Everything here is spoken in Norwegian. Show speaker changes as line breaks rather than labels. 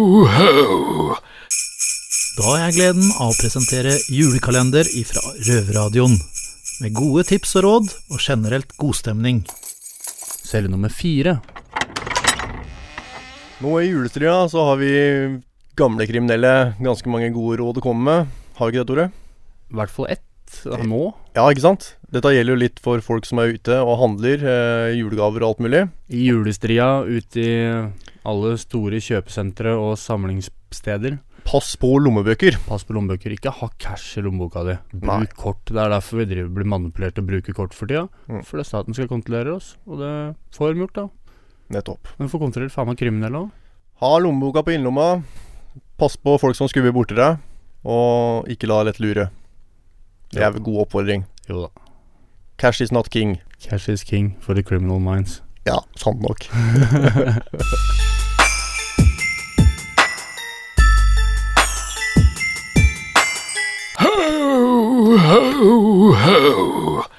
Ho-ho!
Da har jeg gleden av å presentere julekalender ifra Røverradioen. Med gode tips og råd, og generelt godstemning.
Celle nummer fire.
Nå i juletria så har vi gamle kriminelle ganske mange gode råd å komme med. Har vi ikke det, Tore?
I hvert fall ett eh, nå.
Ja, ikke sant? Dette gjelder jo litt for folk som er ute og handler eh, julegaver og alt mulig.
I julestria, ute i alle store kjøpesentre og samlingssteder.
Pass på lommebøker.
Pass på lommebøker. Ikke ha cash i lommeboka di. Bruk
Nei.
kort. Det er derfor vi driver blir manipulert og bruker kort for tida.
Mm.
For det er staten skal kontrollere oss, og det får de gjort, da.
Nettopp.
Men får kontrollert faen meg kriminelle òg.
Ha lommeboka på innerlomma. Pass på folk som skubber borti deg. Og ikke la deg lett lure. Det er en god oppfordring.
Jo da.
Cash is not king.
Cash is king for the criminal minds.
Ja, sant nok.
Ho-ho-ho!